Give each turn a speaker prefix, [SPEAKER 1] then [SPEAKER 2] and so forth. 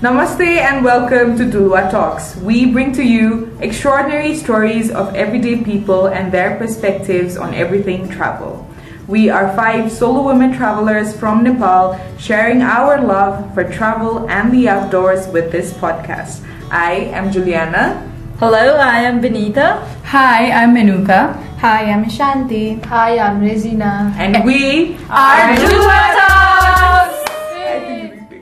[SPEAKER 1] Namaste and welcome to Dulwa Talks. We bring to you extraordinary stories of everyday people and their perspectives on everything travel. We are five solo women travelers from Nepal sharing our love for travel and the outdoors with this podcast. I am Juliana.
[SPEAKER 2] Hello, I am Benita.
[SPEAKER 3] Hi, I'm Menuka.
[SPEAKER 4] Hi, I'm Shanti.
[SPEAKER 5] Hi, I'm Regina.
[SPEAKER 1] And we
[SPEAKER 2] Our Dua Talks!